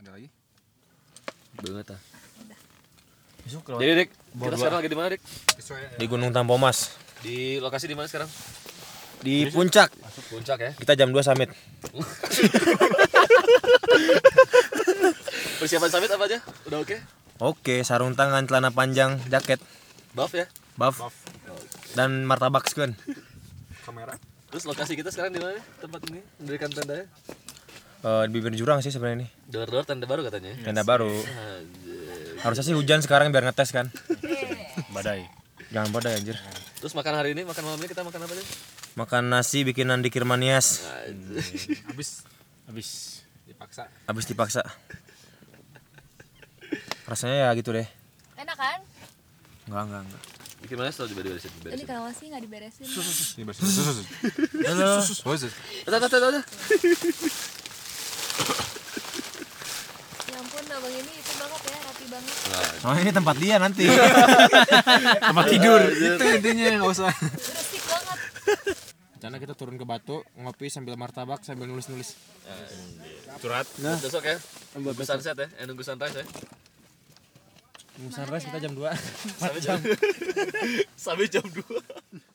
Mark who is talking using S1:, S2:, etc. S1: Ada lagi?
S2: Banget ah.
S3: Besok kalau
S2: Jadi Dik,
S3: Bawa
S2: kita
S3: dua.
S2: sekarang lagi di mana Dik?
S1: Sesuai ya.
S3: di Gunung Tampomas
S2: Di lokasi di mana sekarang?
S3: di puncak
S2: Puncak ya.
S3: kita jam 2 summit
S2: Persiapan summit apa aja? Udah oke?
S3: oke sarung tangan celana panjang jaket
S2: Buff ya.
S3: buff dan martabak sekuen
S1: Kamera.
S2: Terus lokasi kita sekarang di mana? Dik? Tempat ini mendirikan ya? tendanya.
S3: Eh, di bibir jurang sih sebenarnya nih
S2: Door-door tenda baru katanya. ya?
S3: tenda baru
S2: Anjir.
S3: harusnya sih hujan sekarang biar ngetes kan
S4: badai
S3: jangan bodoh anjir
S2: Terus makan hari ini, makan malam ini kita makan apa aja?
S3: makan nasi bikinan di Kirmanias
S2: Anjir.
S1: Habis
S4: habis
S1: dipaksa.
S3: habis dipaksa rasanya ya gitu deh
S5: Enak kan?
S3: enggak enggak enggak
S2: Gimana setelah diberesin?
S5: Ini
S2: Diberesin.
S5: kalau sih nggak diberesin.
S1: Ini bersih. Sus, sus. Sus, sus. Sus.
S2: Tata tata tata.
S5: Ya ampun, abang ini itu banget ya, rapi banget.
S3: oh ini tempat dia nanti tempat
S2: Tidur.
S1: Itu intinya enggak usah.
S5: Bersih banget.
S1: Karena kita turun ke Batu, ngopi sambil martabak sambil nulis-nulis.
S4: curhat
S2: Besok ya. Nunggu sunset ya. Eh nunggu sunrise ya.
S3: Musarres kita jam 2
S2: Sampai jam. Sampai jam 2.